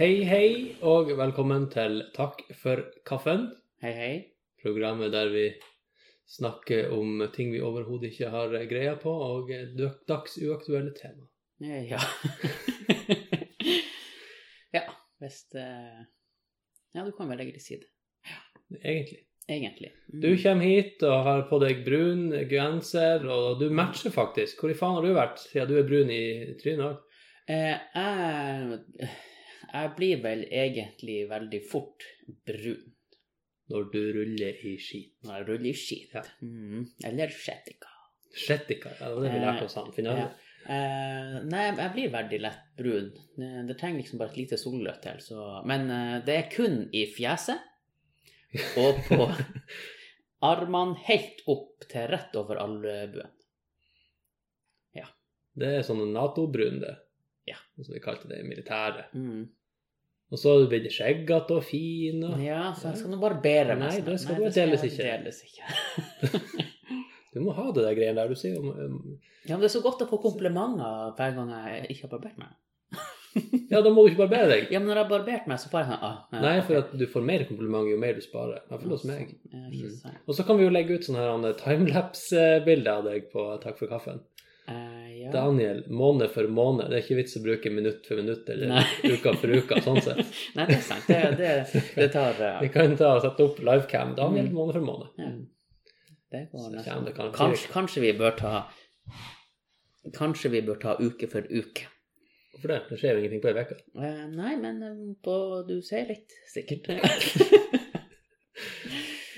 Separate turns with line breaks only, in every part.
Hei, hei, og velkommen til Takk for kaffen.
Hei, hei.
Programmet der vi snakker om ting vi overhodet ikke har greia på, og dø- dagsuaktuelle tema.
Eh, Ja. ja, hvis eh, Ja, du kan vel egentlig si det.
Egentlig.
Egentlig. Mm.
Du kommer hit og har på deg brun genser, og du matcher faktisk. Hvor i faen har du vært siden du er brun i trynet òg?
eh, jeg, jeg blir vel egentlig veldig fort brun
Når du ruller i skit.
når jeg ruller i skit.
Ja.
Mm. Eller skjettika.
Shettika, ja, det var det vi lærte oss han. Finner du
Ja. Eh, nei, jeg blir veldig lett brun. Eh, Det trenger liksom bare et lite solløp til. Så. Men eh, det er kun i fjeset og på armene helt opp til rett over albuen.
Det er sånn Nato-brun, det.
Ja.
Som vi kalte det i militæret.
Mm.
Og så er du blitt skjeggete og fin. Og...
Ja, så jeg skal nå barbere meg.
Nei,
snart.
det skal
Nei,
du deles
jeg
ikke.
deles ikke.
Du må ha det der greiene der. Du sier jo um,
Ja, men det er så godt å få komplimenter hver gang jeg ikke har barbert meg.
Ja, da må du ikke barbere deg.
Ja, men når jeg har barbert meg, så får jeg sånn ah, eh,
Nei,
ok.
for at du får mer kompliment jo mer du sparer. I hvert fall hos meg.
Ja, ikke sant.
Og så kan vi jo legge ut sånne her, Anne, timelapse-bilder av deg på Takk for kaffen.
Eh, ja.
Daniel, måned for måned. Det er ikke vits å bruke minutt for minutt eller
Nei.
uka for uka, sånn sett.
Nei, det er sant. Det, det, det tar eh,
Vi kan ta og sette opp livecam Daniel
Mm.
måned for måned.
Ja. Det
Så
går
kommer
nesten.
det kanskje-
Kanskje, kanskje vi bør ta Kanskje vi bør ta uke for uke.
Hvorfor det? Det skjer jo ingenting på ei uke.
Eh, nei, men eh, på, du sier litt, sikkert.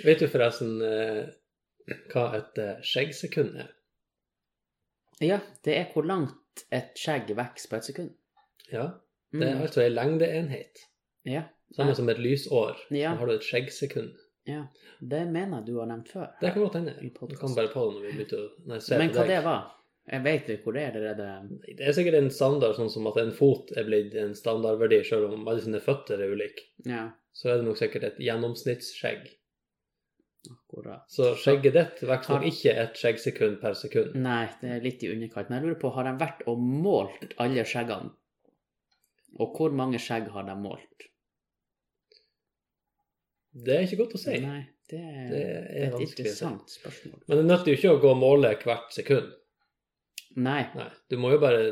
Vet du forresten eh, hva et eh, skjeggsekund er?
ja, det er hvor langt et skjegg vokser på et sekund.
Ja,
Mm.
Det er altså en lengdeenhet.
Ja,
Samme som et lysår.
Ja.
Så har du et skjeggsekund.
det mener jeg du har nevnt før.
Det kan godt hende.
I
Du
podcast.
kan bare på det når vi begynte å nei, se
Men
på
hva
deg.
det var? Jeg vet ikke hvor det er. Det er det...
Det er sikkert en standard, sånn som at en fot er blitt en standardverdi, selv om alle sine føtter er ulike.
Ja,
Så er det nok sikkert et gjennomsnittsskjegg.
akkurat.
Så skjegget ditt vokser
Har- Mm.
nok ikke et skjeggsekund per sekund.
Nei, det er litt i underkant. Men jeg lurer på, har de vært og målt alle skjeggene? Og hvor mange skjegg har de målt?
Det er ikke godt å si.
Nei, det er,
Det
det
er
er,
vanskelig
et
å si.
interessant spørsmål.
Men det nytter jo ikke å gå og måle hvert sekund.
Nei,
Nei, du må jo bare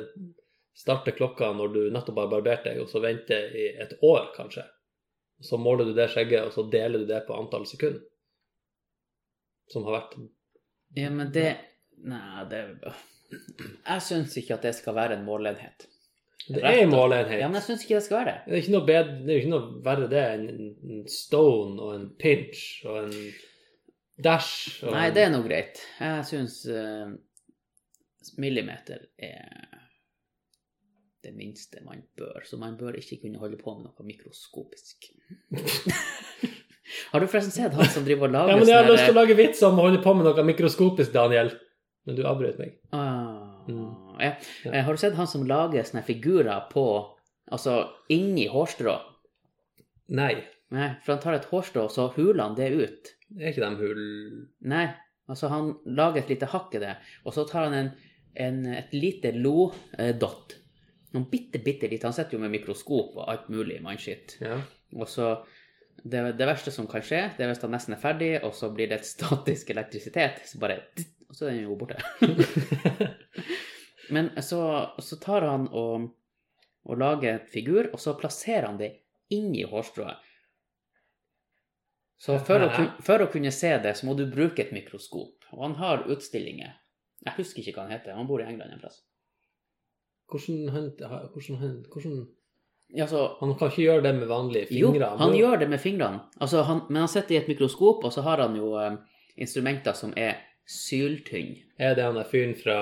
starte klokka når du nettopp har barbert deg, og så vente i et år, kanskje. Og så måler du det skjegget, og så deler du det på antall sekunder. Som har vært
ja, men det Nei, det Jeg syns ikke at det skal være en måleenhet.
Det er en
Ja, men
måleenhet.
jeg syns ikke det skal være det.
Det er ikke noe, bedre, det er jo ikke noe verre det enn en stone og en pinch og en dash og
Nei, det er nå greit. Jeg syns eh, millimeter er det minste man bør, så man bør ikke kunne holde på med noe mikroskopisk. har du forresten sett han som driver og
Ja,
lager
men jeg har lyst til å
sånne
lage vits om å holde på med noe mikroskopisk, Daniel. Men du avbrøt meg.
Ah,
Mm.
ja.
Ja.
Eh, Har du sett han som lager sånne figurer på Altså inni hårstrå?
Nei,
Nei, for han tar et hårstrå, og så huler han det ut.
det er ikke dem hull...
Nei, altså han lager et lite hakk i det, og så tar han en, en, et lite lodott. Noen bitte, bitte lite. Han sitter jo med mikroskop og alt mulig mannskitt.
Ja.
Og så det, det verste som kan skje, det er hvis han nesten er ferdig, og så blir det et statisk elektrisitet. Så bare ditt, Og så er den jo borte. Men så, så tar han og, og lager et figur, og så plasserer han det inni hårstrået. Så for å, kun- for å kunne se det, så må du bruke et mikroskop. Og han har utstillinger. Jeg husker ikke hva han heter. Han bor i England en plass.
Hvordan han... Hvordan han... Hvordan...
Ja, så
Han kan ikke gjøre det med vanlige
Jo,
fingre.
han gjør det med fingrene. Altså, han, men han sitter i et mikroskop, og så har han jo eh, instrumenter som er syltynne.
Er det han der fyren fra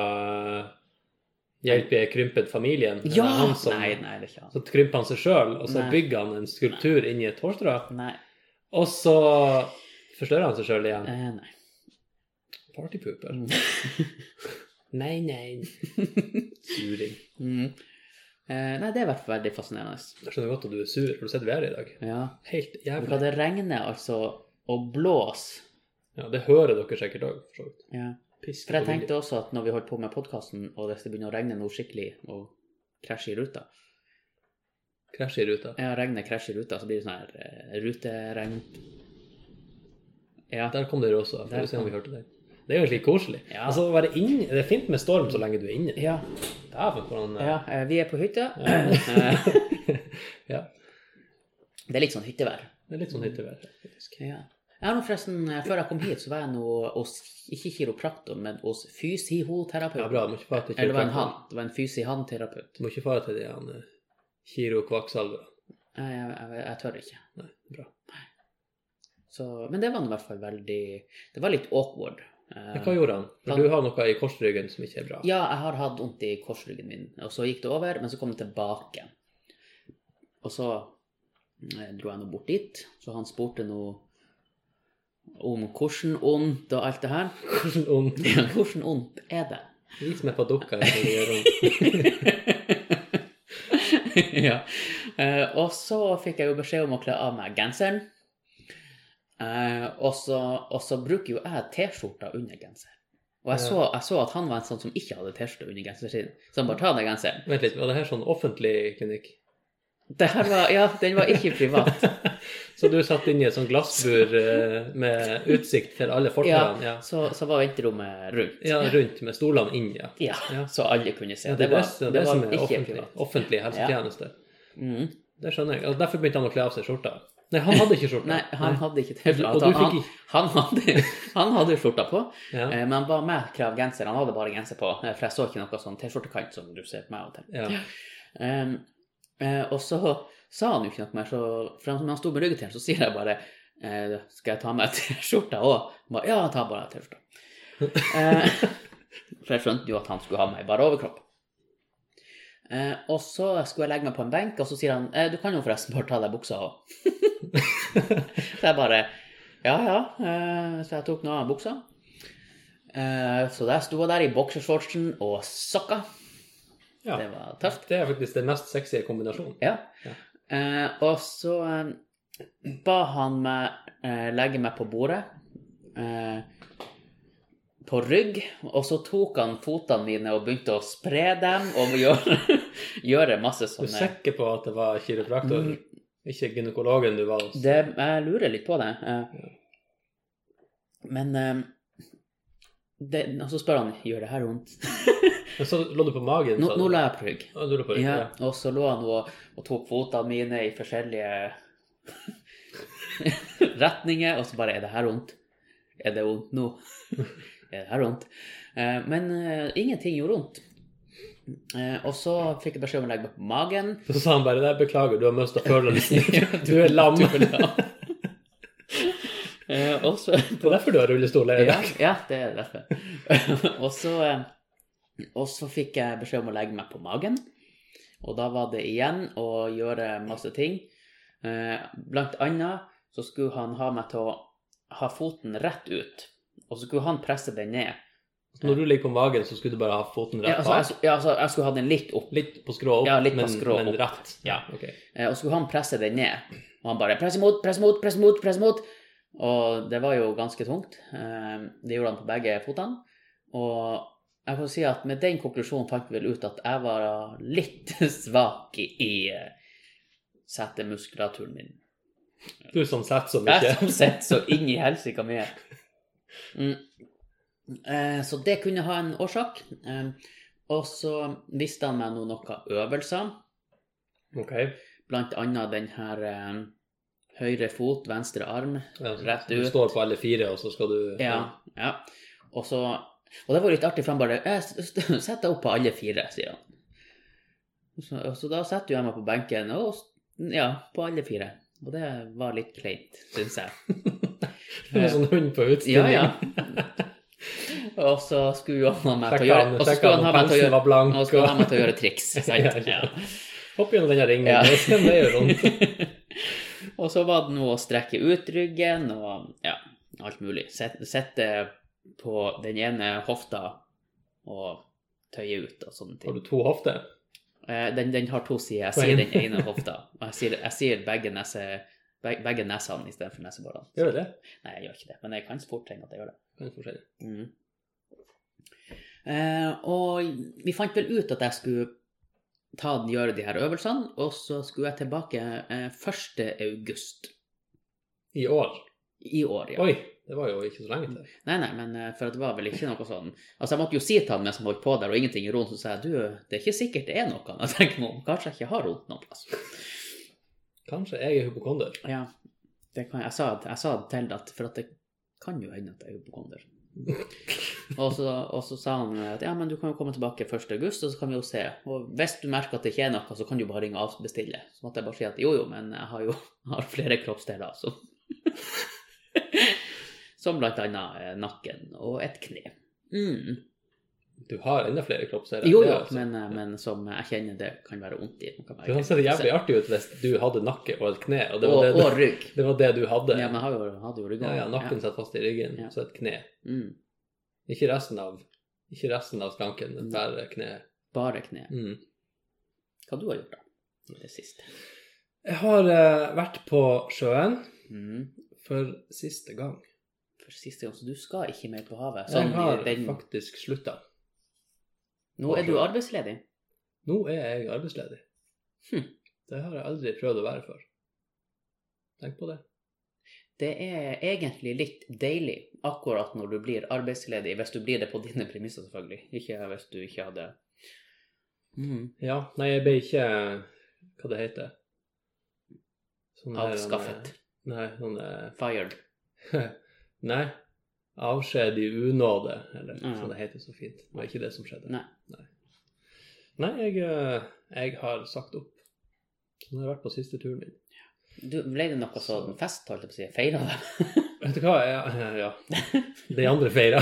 Hjelp jeg krympet familien? Er det han som,
Nei, nei, det er ikke han.
Så krymper han seg sjøl, og så
Nei.
bygger han en skulptur inni et hårstrå,
Nei.
og så forstørrer han seg sjøl igjen.
Eh, nei.
Partypooper.
Mm.
Nei, nei. Suring.
Mm. Eh, nei, det er i hvert fall veldig fascinerende.
Jeg skjønner godt at du er sur. Har du sett været i dag?
Ja.
Helt
Og Hva
jævlig.
det regner, altså, og blåser.
Ja, det hører dere sikkert òg, for så vidt.
Ja.
Pisk
For jeg
på vinduet.
tenkte også at når vi holdt på med podkasten, og hvis det begynner å regne noe skikkelig og krasje i ruta,
Krasj i ruta.
Ja, regnet krasjer i ruta, så blir det sånn her eh, ruteregn. Ja.
Der kom dere også. Får
Der
vi se om
kom-
vi hørte den. Det er jo egentlig koselig.
Ja.
Altså, å være inn, det er fint med storm så lenge du er inne.
Ja,
Dæven, hvordan eh,
ja, eh, vi er på hytta.
Ja. ja.
Det er litt sånn hyttevær.
Det er litt sånn hyttevær. faktisk.
Ja. Jeg har nå forresten, eh, Før jeg kom hit, så var jeg nå hos ikke kiropraktor, men hos fysioterapeut.
Ja, bra. Må ikke fare til
Eller det var en han.
kiropraktor.
Det var en fysi-han-terapeut.
Må ikke fare til de han eh, Kiro Kvakksalver.
Jeg, jeg, jeg, jeg tør ikke.
Nei, bra.
Så, men det var nå i hvert fall veldig Det var litt awkward. Eh,
Men hva gjorde han? For
han-
du har noe i korsryggen som ikke er bra.
Ja, jeg har hatt vondt i korsryggen min, og så gikk det over, men så kom det tilbake. Og så eh, dro jeg nå bort dit, så han spurte nå om hvordan ondt og alt det her.
Hvordan Sånn ond?
Ja, hvordan ondt er det?
Vis meg padukka. jeg skal gjøre om.
ja. Eh, og så fikk jeg jo beskjed om å kle av meg genseren. Eh, og, så, og så bruker jo jeg T-skjorta under genser. Og jeg
Ja.
så, jeg så at han var en sånn som ikke hadde T-skjorte under genseren sin. Så han bare ta av deg genseren.
Vent litt, var det her sånn offentlig klinikk?
Det her var, ja, den var ikke privat.
Så du satt inne i et sånt glassbur eh, med utsikt til alle fortauene? Ja.
Så, så var venterommet rundt.
ja, rundt med stolene inn, ja.
Ja,
Ja.
Så alle kunne se.
Ja, det, er
var,
det, det, er det
var
som er
ikke
offentlig,
privat.
offentlig helsetjeneste.
Mm.
Det skjønner jeg. Og derfor begynte han å kle av seg skjorta. Nei, han hadde ikke skjorta.
Nei, han hadde ikke T-skjorta.
Og du
Han,
fikk
han, hadde- han hadde skjorta på,
Ja.
eh, men ba meg kreve genser. Han hadde bare genser på, eh, for jeg så ikke noe sånn T-skjortekant som du ser på meg av og til.
Ja.
Ehm, eh, og så sa han jo ikke noe mer, så for han, når han sto med ryggen til ham, så sier jeg bare eh, Skal jeg ta med T-skjorta òg? Han bare Ja, ta bare T-skjorta. Eh, for jeg skjønte jo at han skulle ha meg bare overkropp. Eh, og så skulle jeg legge meg på en benk, og så sier han eh, Du kan jo forresten bare ta av deg buksa òg. så jeg bare Ja, ja. Eh, så jeg tok nå av buksa. Eh, så der sto jeg der i boksershortsen og sokker.
Ja.
Det var tøft.
Det er faktisk den mest sexy kombinasjonen.
Ja.
Ja.
Eh, og så eh, ba han meg eh, legge meg på bordet. Eh, på rygg. Og så tok han fotene mine og begynte å spre dem og gjøre, gjøre masse
Du er
sånne
sikker på at det var kiropraktor,
Sånn Mm.
ikke gynekologen du var hos?
det, Jeg lurer litt på det. eh. Men eh, det, Og så spør han gjør det her vondt.
Men så lå du på magen?
Nå,
sa du.
nå la jeg på rygg.
Ja, Du lå på ryggen,
Ja,
ja.
og så lå han og, og tok fotene mine i forskjellige retninger, og så bare Er det her vondt? Er det vondt nå? er det her vondt? Eh, men eh, ingenting gjorde vondt. Eh, og så fikk jeg beskjed om å legge meg på magen.
Så sa han bare nei, beklager, du har mista følelsen. Du
Du
er lam.
er
Det
lam. Eh, og så
er derfor du har rullestol. er det?
ja, ja, det er derfor. og, så, eh, og så fikk jeg beskjed om å legge meg på magen. Og da var det igjen å gjøre masse ting. Eh, Blant annet så skulle han ha meg til å ha foten rett ut. Og så skulle han presse den ned.
Når du ligger på magen, så skulle du bare ha foten
Ja,
rett
altså, jeg,
bak?
sk- ja, altså, jeg skulle ha den litt opp.
Litt på skrå opp,
Ja, litt på
men,
skrå
men
opp.
rett?
Ja.
ok.
Eh, Og så skulle han presse den ned. Og han bare 'press imot, press imot, press imot', press imot. Og det var jo ganske tungt. Eh, Det gjorde han på begge fotene. Og jeg kan si at med den konklusjonen fant vi vel ut at jeg var litt svak i- i eh, setemuskulaturen min.
Du sånn som setter så
Jeg
mye.
som sett så inn i helsika mye. Mm. Eh, Så det kunne ha en årsak. Eh, Og så viste han meg nå noen øvelser.
Ok.
Blant annet den her eh, høyre fot, venstre arm.
Ja, så
Rett
Du
ut.
står på alle fire, og så skal du
Ja. ja. Og så Og det var litt artig, for han bare «Eh, s- s- Sett deg opp på alle fire, sier han. Så, så da setter jo jeg meg på benken, og s- ja, på alle fire. Og det var litt kleint, syns jeg.
Du er en sånn hund på
Ja,
utstilling.
ja. Og så skulle jo han ha meg til å
Sjekka han,
gjøre Og så
sjekka
skulle
han
han ha
om
meg til å
pelsen
gjøre,
var blank.
og så skulle
og-
han ha meg til å gjøre triks. Sant?
Ja, ja.
Ja.
Hopp gjennom den her ringen.
Ja.
Det det gjør vondt.
Og så var det noe å strekke ut ryggen og ja, alt mulig. Sette, sette på den ene hofta og tøye ut og sånne
Har
ting.
du to hofter?
Eh, Den, den har to sider. Jeg
På
sier
en.
den ene hofta. Og jeg sier, jeg sier begge, nese, beg- begge nesene istedenfor neseborene.
Gjør du det?
Nei, jeg gjør ikke det, men jeg kan fort hende at jeg gjør det.
Det er en forskjell.
Mm. Eh, og vi fant vel ut at jeg skulle ta, gjøre de her øvelsene, og så skulle jeg tilbake eh, 1. august
I år?
i år, ja.
Oi, det var jo ikke så lenge til.
Nei, nei, men eh, for at det var vel ikke noe sånn Altså, jeg måtte jo si til han mens han holdt på der, og ingenting i roen, så sa jeg du, det er ikke sikkert det er noe. Jeg tenker meg om, kanskje jeg ikke har vondt noen plass.
Kanskje jeg er hypokonder.
Ja, det kan, jeg, sa, jeg sa det til at, for at det kan jo hende at jeg er hypokonder. Og så, og så sa han at ja, men du kan jo komme tilbake 1. august, og så kan vi jo se. Og hvis du merker at det ikke er noe, så kan du bare ringe og avbestille. Så måtte jeg bare si at jo, jo, men jeg har jo jeg har flere kroppsdeler, altså. Som blant annet eh, nakken og et kne. Mm.
Du har enda flere kroppsdeler.
Jo,
Det er
jo,
altså-
men, eh, men som jeg kjenner det kan være vondt i. Det kan
Det
være
hadde sett jævlig
knekkelse.
artig ut hvis du hadde nakke og et kne, og det var,
og,
det,
og rygg.
det, var det du hadde.
Ja, men jeg har jo, hadde jo ryggen.
ja, ja, nakken satt fast i ryggen,
Ja.
så et kne.
Mm.
Ikke resten av, ikke resten av skranken,
Mm.
men bare kneet.
Bare kne.
Mm.
Hva du har gjort, da? I det siste.
Jeg har eh, vært på sjøen
Mm.
for siste gang.
For siste gang, så du skal ikke mer på havet?
Jeg
Sånn,
har
i den...
faktisk slutta.
Nå er du arbeidsledig?
Nå er jeg arbeidsledig.
Hm.
Det har jeg aldri prøvd å være før. Tenk på det.
Det er egentlig litt deilig akkurat når du blir arbeidsledig, hvis du blir det på dine premisser, selvfølgelig. Ikke hvis du ikke hadde mm.
Ja, nei, jeg ble ikke Hva det heter Sånn her,
avskaffet.
Nei, sånn eh,
Fired.
Nei. Avskjed i unåde, eller
Ja.
sånn det heter så fint. Det var ikke det som skjedde.
Nei.
Nei, Nei, jeg, eh, jeg har sagt opp. Så nå har jeg vært på siste turen min.
Du, ble det noe sånn fest, holdt jeg på å si? Feira det?
Vet du hva? Jeg, ja. De andre feira.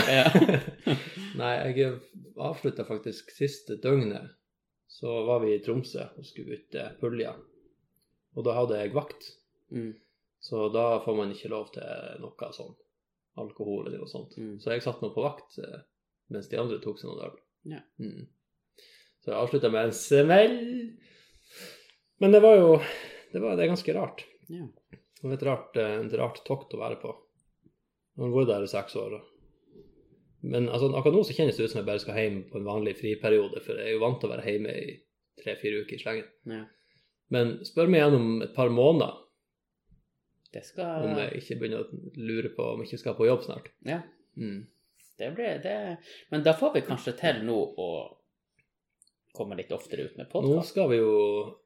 Nei, jeg avslutta faktisk siste døgnet. Så var vi i Tromsø og skulle ut eh, Pulja. Og da hadde jeg vakt,
Mm.
så da får man ikke lov til noe sånn alkohol eller noe sånt.
Mm.
Så jeg satt nå på vakt eh, mens de andre tok seg noen øl.
Ja.
Mm. Så jeg avslutta med en smell. Men det var jo det, var, det er ganske rart.
Ja.
Det var et rart, eh, et rart tokt å være på. Man har vært der i seks år. og- Men altså, akkurat nå så kjennes det ut som jeg bare skal hjem på en vanlig friperiode, for jeg er jo vant til å være hjemme i tre-fire uker i slengen.
Ja.
Men spør meg igjen om et par måneder
Det
om
skal
jeg ikke begynner å lure på om jeg ikke skal på jobb snart.
Eh. Ja.
Mm.
Det blir det Men da får vi kanskje til nå å komme litt oftere ut med
Nå
podkast.
skal vi jo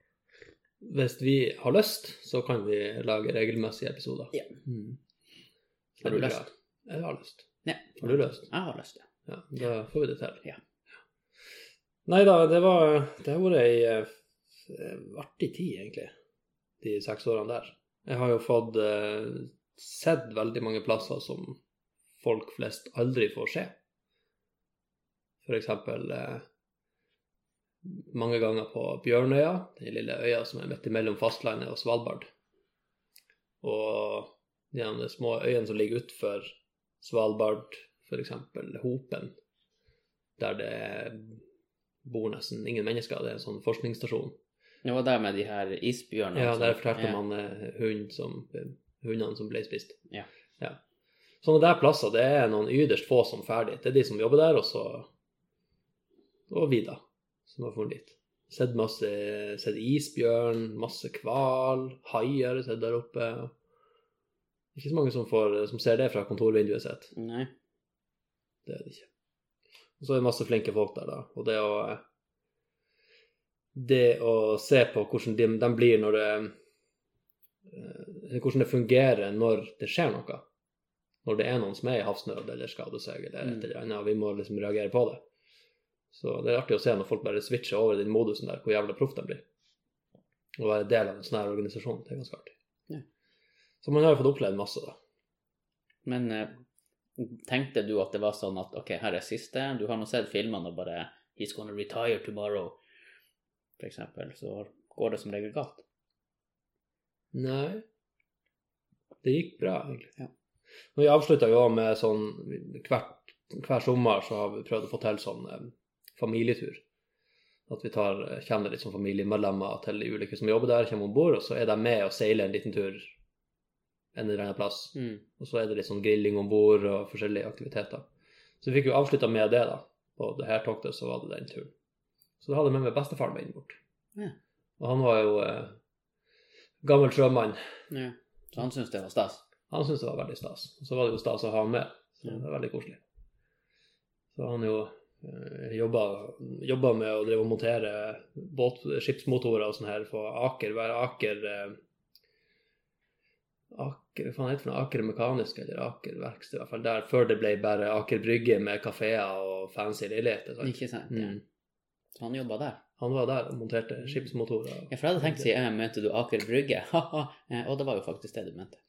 Hvis vi har lyst, så kan vi lage regelmessige episoder.
Ja.
Mm.
Har du
Det blir
lyst?
bra. Jeg har lyst.
Ja.
Har du lyst?
Jeg har lyst til det.
Ja, da får vi det til.
Ja.
Nei da, det var Det har vært ei eh, artig tid, egentlig, de seks årene der. Jeg har jo fått eh, sett veldig mange plasser som folk flest aldri får se. For eksempel eh, mange ganger på Bjørnøya, den lille øya som er midt imellom fastlandet og Svalbard. Og de her små øyene som ligger utenfor Svalbard, f.eks. Hopen, der det bor nesten ingen mennesker. Det er en sånn forskningsstasjon.
Det var der med de her isbjørnene.
Ja,
som-
der fortalte
ja.
man eh, hund som, hundene som ble spist.
Ja.
ja. Sånne der plasser, det er noen ytterst få som ferdig. Det er de som jobber der, og så Og vi, da, som har funnet dit. Sett masse sett isbjørn, masse hval, haier har jeg sett der oppe. Ikke så mange som, får, som ser det fra kontorvinduet sitt.
Nei.
Det er det ikke. Og så er det masse flinke folk der, da. Og det å Det å se på hvordan de, de blir når det eh, Hvordan det fungerer når det skjer noe. Når det er noen som er i havsnød eller skader seg eller et eller annet, og vi må liksom reagere på det. Så det er artig å se når folk bare switcher over i den modusen der, hvor jævla proff de blir. Å være del av en sånn her organisasjon, det er ganske artig.
Ja.
Så man har jo fått opplevd masse, da.
Men eh, tenkte du at det var sånn at ok, her er siste, du har nå sett filmene og bare He's gonna retire tomorrow, for eksempel. Så går det som regel galt.
Nei. Det gikk bra, egentlig.
Ja.
Men vi avslutta jo også med sånn hvert, Hver sommer så har vi prøvd å få til sånn eh, familietur. At vi tar, eh, kjenner litt som familiemedlemmer til de ulike som jobber der, kommer om bord, og så er de med og seiler en liten tur en eller annen plass.
Mm.
Og så er det litt sånn grilling om bord og forskjellige aktiviteter. Så vi fikk jo avslutta med det, da. På det her toktet så var det den turen. Så da hadde jeg med meg bestefaren min bort.
Ja.
Og han var jo eh, gammel sjømann.
Ja. Så han syntes det var stas.
Han syntes det var veldig stas. Og så var det jo stas å ha han med. Så
Ja.
det var veldig koselig. Så han jo eh, jobba, jobba med å drive og montere båt, skipsmotorer og sånn her på Aker. Hver Aker eh, Aker, Hva faen heter det for noe? Aker Mekanisk eller Aker Verksted, i hvert fall der før det ble bare Aker Brygge med kafeer og fancy leiligheter. sant?
Ikke sant? Ja.
Mm.
Så han jobba der.
Han var der og monterte skipsmotorer.
Ja, for jeg hadde tenkt å si «Eh, mente du Aker Brygge? Haha. Eh, Og det var jo faktisk det du mente.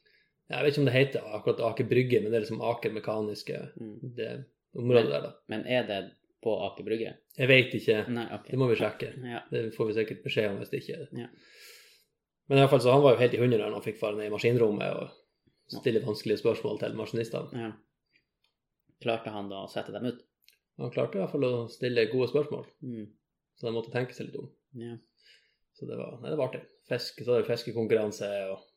Jeg vet ikke om det heter akkurat Aker Brygge, men det er liksom Aker Mekaniske,
Mm.
det området der, da.
Men er det på Aker Brygge?
Jeg vet ikke.
Nei, ok.
Det må vi sjekke.
Ja.
Det får vi sikkert beskjed om hvis det ikke er det.
Ja.
Men i hvert fall, så han var jo helt i hundre da han fikk fare ned i maskinrommet og stille vanskelige spørsmål til maskinistene.
ja. Klarte han da å sette dem ut?
Han klarte i hvert fall å stille gode spørsmål,
Mm.
så de måtte tenke seg litt om.
Ja.
Så det var, nei, det var artig. Fiske, så var det fiskekonkurranse og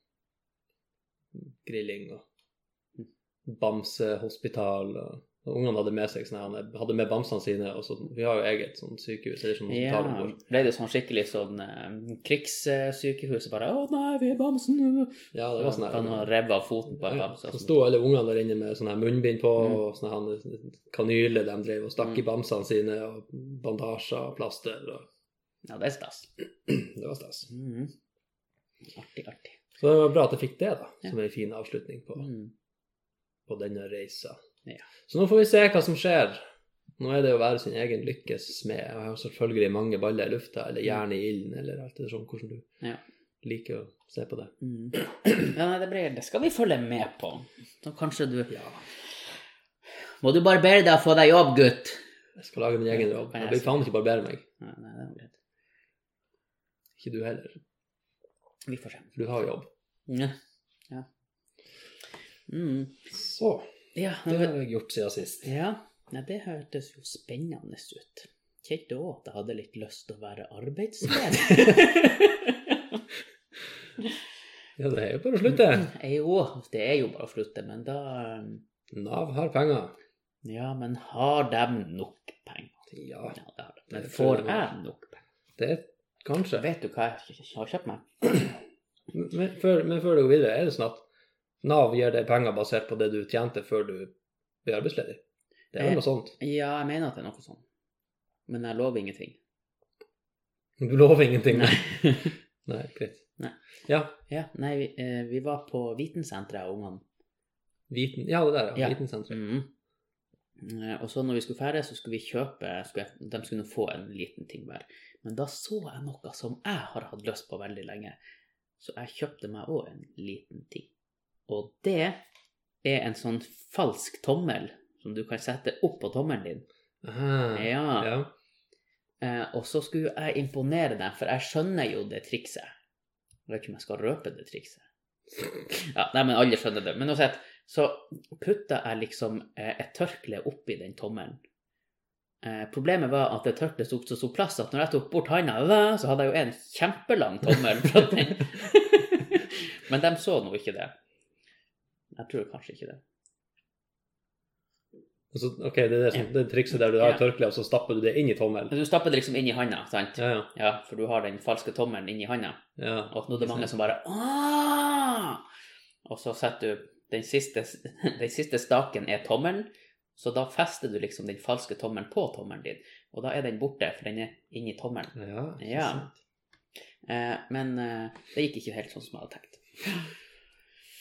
grilling og bamsehospital. Og, og ungene hadde med seg sånne, her- hadde med bamsene sine. Og så, vi har jo eget sånt sykehus. Eller sånn
ja.
hospital om bord.
Ble det sånn skikkelig sånn eh, krigssykehus? Bare 'Å nei, vi er bamsen nå'.
Ja, det var sånn
Kan
her.
han rev av foten på
Ja,
altså. en
ja.
bamse?
Så
og
sto alle ungene der inne med sånne her munnbind på
Mm.
og sånne her kanyler de drev og stakk i
Mm.
bamsene sine, og bandasjer og plaster. Og,
sånn. Ja, det er stas.
det var stas.
Mhm. Artig, artig.
Så det var bra at jeg fikk det, da,
Ja.
som en fin avslutning på
Mm.
på denne reisa.
Ja.
Så nå får vi se hva som skjer. Nå er det å være sin egen lykkes smed. Jeg har selvfølgelig mange baller i lufta, eller jern i ilden, eller alt det sånn, hvordan du
Mm. Ja.
liker å se på det.
Mm. Ja, nei, det, blir, det skal vi følge med på. Så kanskje du
Ja.
Må du barbere deg og få deg jobb, gutt?
Jeg skal lage min egen
Ja,
jobb.
kan
Jeg
jeg
vil
si.
faen ikke barbere meg.
Nei, nei, det er greit.
Ikke du heller,
Vi får se.
for du har jobb.
Ja. Ja. Mm.
Så,
Ja,
det
men,
har jeg gjort siden sist.
ja. Nei, det hørtes jo spennende ut. Kjente òg at jeg hadde litt lyst til å være arbeidsledig.
Ja, det er jo bare å slutte.
Jeg òg. Det er jo bare å slutte, men da eh,
Nav har penger.
Ja, men har de nok penger?
Ja,
Ja, det har de. Men
Det tror
får
jeg de har.
jeg nok penger?
det er kanskje.
Vet du hva jeg har kjøpt meg?
Men, men før, men før du går videre, er det sånn at Nav gir deg penger basert på det du tjente før du ble arbeidsledig? Det er
Eh.
vel noe sånt?
Ja, jeg mener at det er noe sånn. Men jeg lover ingenting.
Du lover ingenting?
Nei.
Nei, greit.
Nei.
Ja,
ja, nei, vi, eh, vi var på vitensenteret, ungene.
viten, ja, det der, ja.
Ja.
Vitensenteret.
Mm. Eh, Og så når vi skulle ferdig, så skulle vi kjøpe skulle jeg, De skulle nå få en liten ting hver. Men da så jeg noe som jeg har hatt lyst på veldig lenge. Så jeg kjøpte meg òg en liten ting. Og det er en sånn falsk tommel som du kan sette oppå tommelen din.
Aha.
Ja.
Ja.
Eh, og så skulle jeg imponere dem, for jeg skjønner jo det trikset. Jeg vet ikke om jeg skal røpe det trikset. Ja, nei, men alle skjønner det. Men uansett, så putta jeg liksom eh, et tørkle oppi den tommelen. Eh, problemet var at det tørkleet tok så stor plass at når jeg tok bort handa, væ, så hadde jeg jo en kjempelang tommel. fra den. men de så nå ikke det. Jeg tror kanskje ikke det.
Og Så, ok, det er det, som, det trikset der du har
Ja.
et tørkle, og så stapper du det inn i tommelen.
Men du stapper det liksom inn i handa, sant?
Ja, ja.
Ja, for du har den falske tommelen inni handa.
ja.
Og at nå er det mange som bare «Åh!» Og så setter du den siste, den siste staken er tommelen, så da fester du liksom den falske tommelen på tommelen din. Og da er den borte, for den er inni tommelen.
Ja, ikke
Ja.
sant.
Eh, men eh, det gikk ikke helt sånn som jeg hadde tenkt.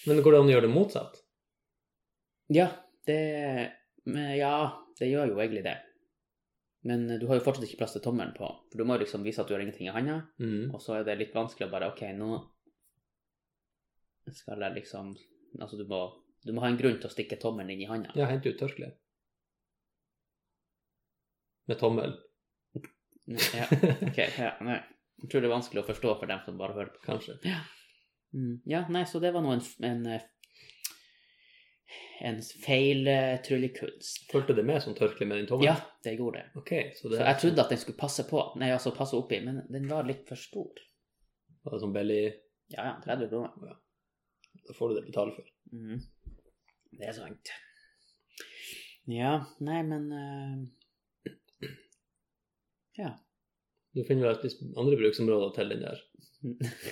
Men går det an å gjøre det motsatt?
Ja, det men Ja, det gjør jo egentlig det. Men eh, du har jo fortsatt ikke plass til tommelen på, for du må jo liksom vise at du har ingenting i handa.
Mm.
Og så er det litt vanskelig å bare Ok, nå skal jeg liksom Altså, du må, du må ha en grunn til å stikke tommelen inn i handa.
Ja, hent ut tørkleet. Med tommel.
Ja, ok, ja, nei. Jeg tror det er vanskelig å forstå for dem som bare hører på.
Kanskje.
Mm. Ja, nei, så det var nå en, en, eh, en feil eh, tryllekunst.
Fulgte det med som tørkle med den
Ja,
tommelen?
det gjorde det.
Ok, så
Så
det
jeg trodde at den skulle passe på, nei, altså passe oppi, men den var litt for stor.
var det sånn belly
Ja, ja, 30 kroner.
Da får du det betalt for.
Mm. Det er sant. Ja, nei, men eh, Ja.
Du finner vel alltid andre bruksområder til den der.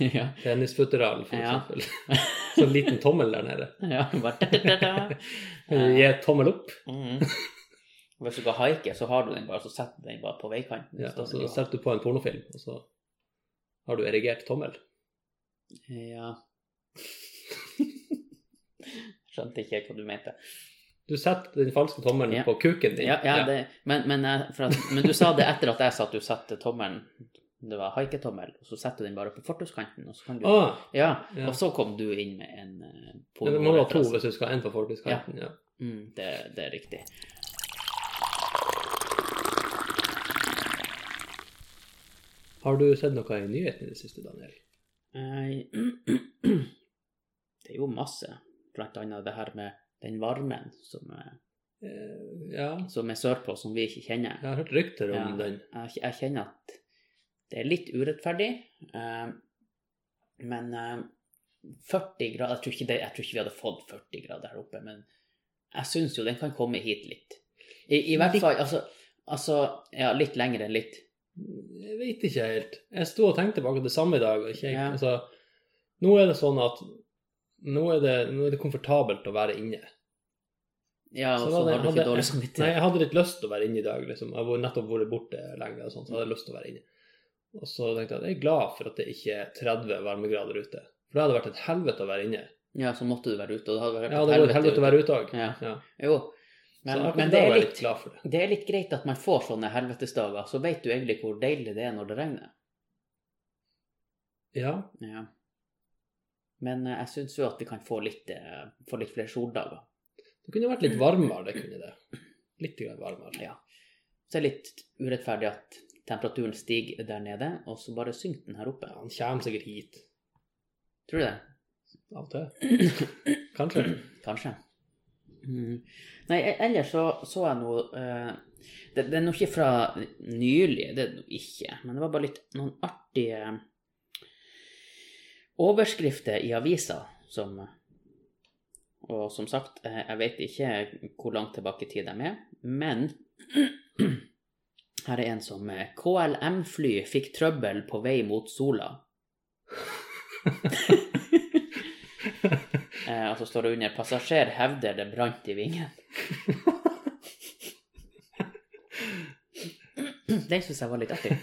ja.
Penisfutteral, for
Ja.
eksempel. Så en liten tommel der nede.
ja bare da, da, da, da.
Kan du Gi tommel opp.
Mhm. Hvis du skal haike, så har du den bare, så setter du den bare på veikanten.
Ja,
Står
og så
den
setter du på en pornofilm, og så har du erigert tommel.
bare- ja. Skjønte ikke hva du mente.
Du setter den falske tommelen
Ja.
på kuken din.
Ja, ja, det, men, men, jeg- for at, men du sa det etter at jeg sa at du satte tommelen Det var haiketommel, og så setter du den bare på fortauskanten, og så kan du
Ah,
ja,
ja.
og så kom du inn med en eh,
men det må du ha to
pornoreferanse.
hvis du skal ha en på folkeskanten. Ja.
Mm, det, det er riktig.
Har du sett noe i nyhetene i det siste, Daniel?
Nei, Det er jo masse. Blant annet det her med den varmen som, eh,
Eh, ja,
som er sørpå, som vi ikke kjenner.
jeg har hørt rykter om
Ja.
den.
Jeg, jeg kjenner at det er litt urettferdig. eh, Men eh, 40 grader jeg tror, ikke det, jeg tror ikke vi hadde fått 40 grader her oppe, men jeg syns jo den kan komme hit litt. I, i hvert fall altså, altså Ja, litt lenger enn litt.
Jeg vet ikke helt. Jeg sto og tenkte på akkurat det samme i dag. og Ikke, helt-
Ja.
altså, nå er det sånn at nå er det, nå er det komfortabelt å være inne.
Ja, og
Så
så
var det-
har du
hadde-
ikke dårlig
Nei,
samvittighet.
jeg hadde litt lyst til å være inne i dag, liksom. Jeg har nettopp vært borte lenge, og sånt, så jeg hadde lyst til å være inne. Og så tenkte jeg at jeg er glad for at det ikke er 30 varmegrader ute. For det hadde vært et helvete å være inne.
Ja, så måtte du være ute. Og det hadde vært
Jeg hadde vært et helvete å være ute òg.
Ja.
Ja.
Jo.
Men,
Men,
så
men det, er
litt
litt,
glad for det.
det er litt greit at man får sånne helvetesdager, så vet du egentlig hvor deilig det er når det regner.
Ja,
Ja. Men eh, jeg syns jo at vi kan få litt, eh, få litt flere soldager.
det kunne vært litt varmere, det kunne det. Litt grann varmere.
Ja. Så det er litt urettferdig at temperaturen stiger der nede, og så bare synker den her oppe.
Ja, han kommer sikkert hit
Tror du det?
av og til. Kanskje.
Kanskje. Mm. Nei, e- ellers så så jeg noe eh, det, det er nå ikke fra nylig, det er det nå ikke, men det var bare litt noen artige overskrifter i avisa som Og som sagt, eh, jeg vet ikke hvor langt tilbake i tid de er, men her er en som eh, KLM-fly fikk trøbbel på vei mot sola. Eh, og så står det under 'Passasjer hevder det brant i vingen'. Den syns jeg var litt artig.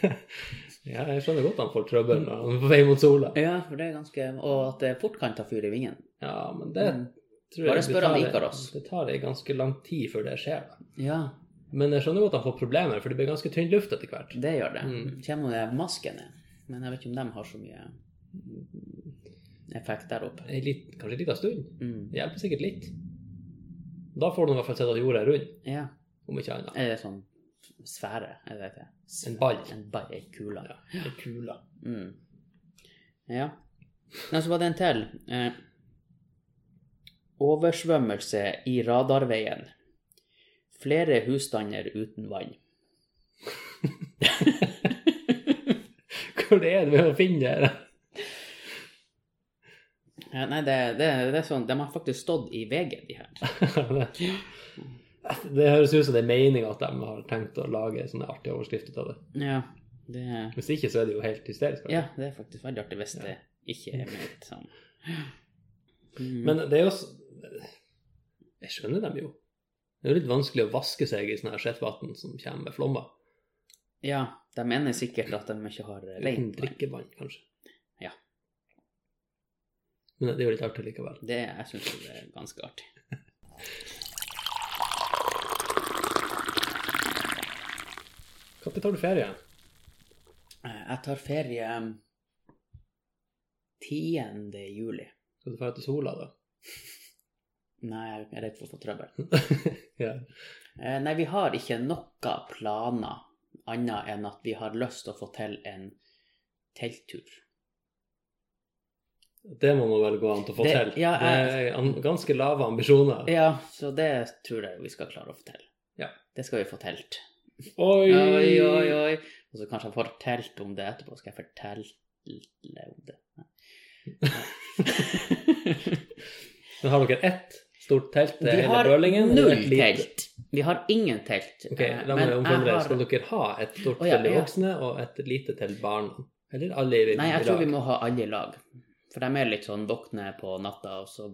Ja, jeg skjønner godt han får trøbbel når han er på vei mot sola.
Ja, for det er ganske Og at det fort kan ta fyr i vingen.
Ja, men det tror jeg
Bare
det
spør han
tar-
Ikaros.
Det tar ei ganske lang tid før det skjer. da.
Ja,
Men jeg skjønner godt at han får problemer, for det blir ganske tynn luft etter hvert.
det gjør det.
Mm.
Kommer jo de maskene. Men jeg vet ikke om de har så mye effekt der oppe.
En lit- kanskje en liten stund.
Mm.
Det hjelper sikkert litt. Da får du i hvert fall sett at jorda er rund,
Ja.
om ikke annet.
Er det sånn sfære? Er det det? heter?
En ball.
En ball, ei kule.
Ja, en kula.
Mm. Ja. Nei, så var det en til. Eh, oversvømmelse i radarveien. Flere husstander uten vann.
Hvor er det vi må finne det her?
Ja, nei, det, det, det er sånn, de har faktisk stått i VG, de her.
Det høres ut som det er meninga at de har tenkt å lage sånne artige overskrifter ut av det.
Ja, det,
Hvis ikke, så er det jo helt hysterisk. faktisk.
ja, det er faktisk veldig artig hvis det ikke er ment sånn. Mm.
Men det er jo s- Jeg skjønner dem jo. Det er jo litt vanskelig å vaske seg i sånn her skjettvann som kommer med flommer.
ja, de mener sikkert at de ikke har eh,
Uten
rent vann.
drikkevann, kanskje.
Ja.
Men det er jo litt artig likevel.
Det jeg syns det er ganske artig.
Når tar du ferie?
Eh, Jeg tar ferie eh, 10. juli.
Skal du dra til sola, da?
Nei, jeg er redd for å få trøbbel.
ja.
Eh, Nei, vi har ikke noen planer annet enn at vi har lyst til å få til en telttur.
Det må man vel gå an til å få
Det-
til.
ja,
Det er an- ganske lave ambisjoner.
Ja, så det tror jeg vi skal klare å få til.
Ja.
Det skal vi få telt.
Oi!
Oi, oi, oi. Og så kanskje jeg får telt om det etterpå. Skal jeg fortelle om det? Nei.
Men har dere ett stort telt?
Vi
hele
har
Bølingen, eller
null
et lite?
telt. Vi har ingen telt.
Ok,
eh,
la
men
meg
jeg
omformulere.
har-
Skal dere ha et stort
Å, ja,
til de
ja.
voksne og et lite til barna? Eller alle i
Nei, jeg
i
tror
lag?
vi må ha alle i lag. For de er litt sånn våkne på natta, og så